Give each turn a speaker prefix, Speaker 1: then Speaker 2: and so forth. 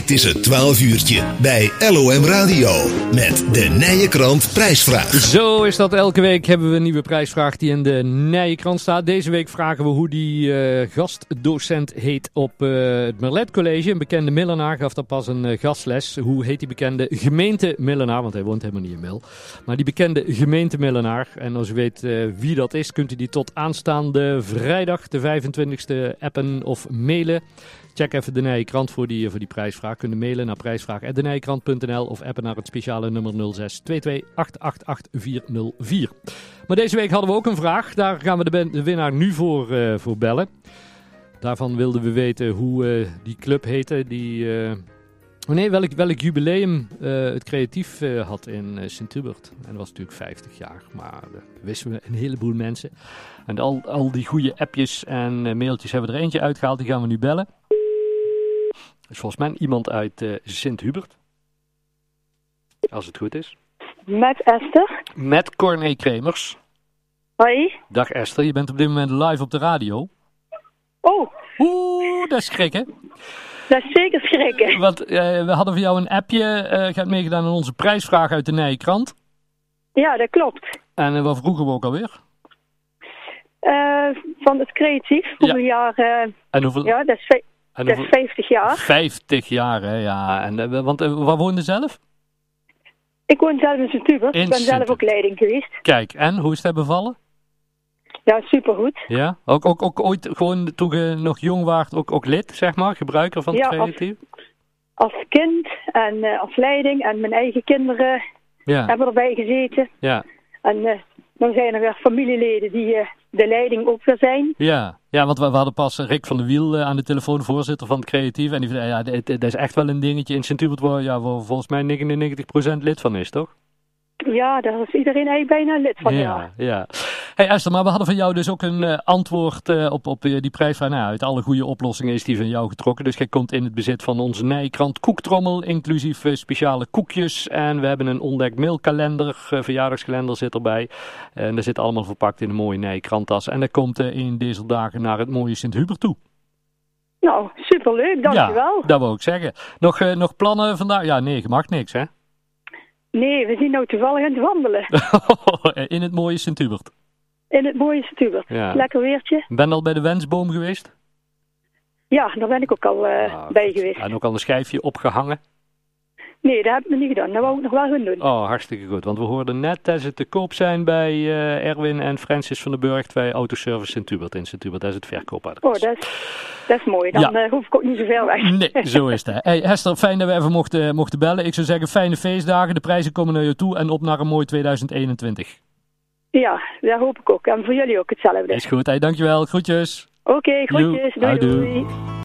Speaker 1: Het is het 12 uurtje bij LOM Radio met de Nijenkrant prijsvraag.
Speaker 2: Zo is dat. Elke week hebben we een nieuwe prijsvraag die in de Nijenkrant staat. Deze week vragen we hoe die eh, gastdocent heet op eh, het Merlet College. Een bekende Millenaar gaf daar pas een eh, gastles. Hoe heet die bekende gemeente Millenaar? Want hij woont helemaal niet in Mil. Maar die bekende gemeente Millenaar. En als u weet eh, wie dat is, kunt u die tot aanstaande vrijdag de 25e appen of mailen. Check even de Nijenkrant voor die, eh, voor die prijsvraag. Kunnen mailen naar prijsvraag.denijenkrant.nl of appen naar het speciale nummer 06 22 404. Maar deze week hadden we ook een vraag. Daar gaan we de, ben- de winnaar nu voor, eh, voor bellen. Daarvan wilden we weten hoe eh, die club heette. Die, eh, oh nee, welk, welk jubileum eh, het creatief eh, had in eh, Sint-Hubert. En dat was natuurlijk 50 jaar. Maar dat wisten we een heleboel mensen. En al, al die goede appjes en eh, mailtjes hebben we er eentje uitgehaald. Die gaan we nu bellen. Dat is volgens mij iemand uit eh, Sint-Hubert. Als het goed is.
Speaker 3: Met Esther.
Speaker 2: Met Corné Kremers.
Speaker 3: Hoi.
Speaker 2: Dag Esther, je bent op dit moment live op de radio.
Speaker 3: Oh,
Speaker 2: Oeh, dat is schrikken.
Speaker 3: dat is zeker schrikken.
Speaker 2: Want eh, we hadden voor jou een appje. eh je hebt meegedaan aan onze prijsvraag uit de Nijenkrant.
Speaker 3: Ja, dat klopt.
Speaker 2: En eh, wat vroegen we ook alweer?
Speaker 3: Eh, van het creatief, hoeveel jaar... eh,
Speaker 2: En hoeveel?
Speaker 3: ja, dat is, vij-
Speaker 2: en
Speaker 3: dat
Speaker 2: hoeveel
Speaker 3: is 50 jaar.
Speaker 2: 50 jaar, hè, ja. En, eh, want eh, waar woonde zelf?
Speaker 3: Ik woon zelf in Sint-Hubert.
Speaker 2: In
Speaker 3: Ik ben zelf
Speaker 2: Sint-Hubert.
Speaker 3: ook leiding geweest.
Speaker 2: Kijk, en hoe is dat bevallen?
Speaker 3: Ja, supergoed.
Speaker 2: Ja, ook, ook, ook ooit gewoon toen je nog jong waart, ook, ook lid, zeg maar, gebruiker van het
Speaker 3: Ja, als-
Speaker 2: creatief?
Speaker 3: Als kind en eh, als leiding en mijn eigen kinderen
Speaker 2: Ja,
Speaker 3: hebben erbij gezeten.
Speaker 2: ja,
Speaker 3: En eh, dan zijn er weer familieleden die eh, de leiding ook weer zijn.
Speaker 2: ja. Ja, want we, we hadden pas Rick van der Wiel eh, aan de telefoon, voorzitter van het creatief. En die zei, ja, dit- dit is echt wel een dingetje in Sint-Hubert waar, ja, waar volgens mij 99% lid van is, toch?
Speaker 3: Ja, daar is iedereen eigenlijk bijna lid van. Oh, Ja.
Speaker 2: Ja, ja. Hey Esther, maar we hadden van jou dus ook een eh, antwoord eh, op, op eh, die prijsvraag. Nou, uit alle goede oplossingen is die van jou getrokken. Dus jij komt in het bezit van onze Nijkrant koektrommel, inclusief eh, speciale koekjes. En we hebben een ontdekt mailkalender, eh, verjaardagskalender zit erbij. En dat zit allemaal verpakt in een mooie Nijkranttas. En dat komt eh, in deze dagen naar het mooie Sint-Hubert toe.
Speaker 3: Nou, superleuk. Dankjewel.
Speaker 2: Ja, dat wou ik zeggen. Nog, eh, nog plannen vandaag? Ja, nee, je mag niks hè?
Speaker 3: Nee, we zien nou toevallig aan het wandelen.
Speaker 2: in het mooie Sint-Hubert.
Speaker 3: In het mooie Sint-Hubert.
Speaker 2: Ja.
Speaker 3: Lekker weertje.
Speaker 2: Ben je al bij de wensboom geweest?
Speaker 3: Ja, daar ben ik ook al eh,
Speaker 2: Ah,
Speaker 3: bij
Speaker 2: goed.
Speaker 3: geweest.
Speaker 2: En ook al een schijfje opgehangen.
Speaker 3: Nee, dat heb ik nog niet gedaan. Dat wou ik nog wel gaan doen.
Speaker 2: Oh, hartstikke goed. Want we hoorden net dat ze te koop zijn bij eh, Erwin en Francis van den Burg bij Autoservice Sint-Hubert. In Sint-Hubert, dat is het
Speaker 3: Oh,
Speaker 2: verkoopadres.
Speaker 3: dat is, dat is mooi. Dan
Speaker 2: Ja.
Speaker 3: eh, hoef ik ook niet zo ver weg.
Speaker 2: Nee, zo is het. Hey, Hester, fijn dat we even mochten, mochten bellen. Ik zou zeggen, fijne feestdagen. De prijzen komen naar je toe en op naar een mooi 2021.
Speaker 3: Ja, dat hoop ik ook. En voor jullie ook hetzelfde.
Speaker 2: Is goed. Hey, dankjewel. Groetjes.
Speaker 3: Oké, groetjes.
Speaker 2: Joe, Ah,
Speaker 3: Doei,
Speaker 2: houdoe.
Speaker 3: doei.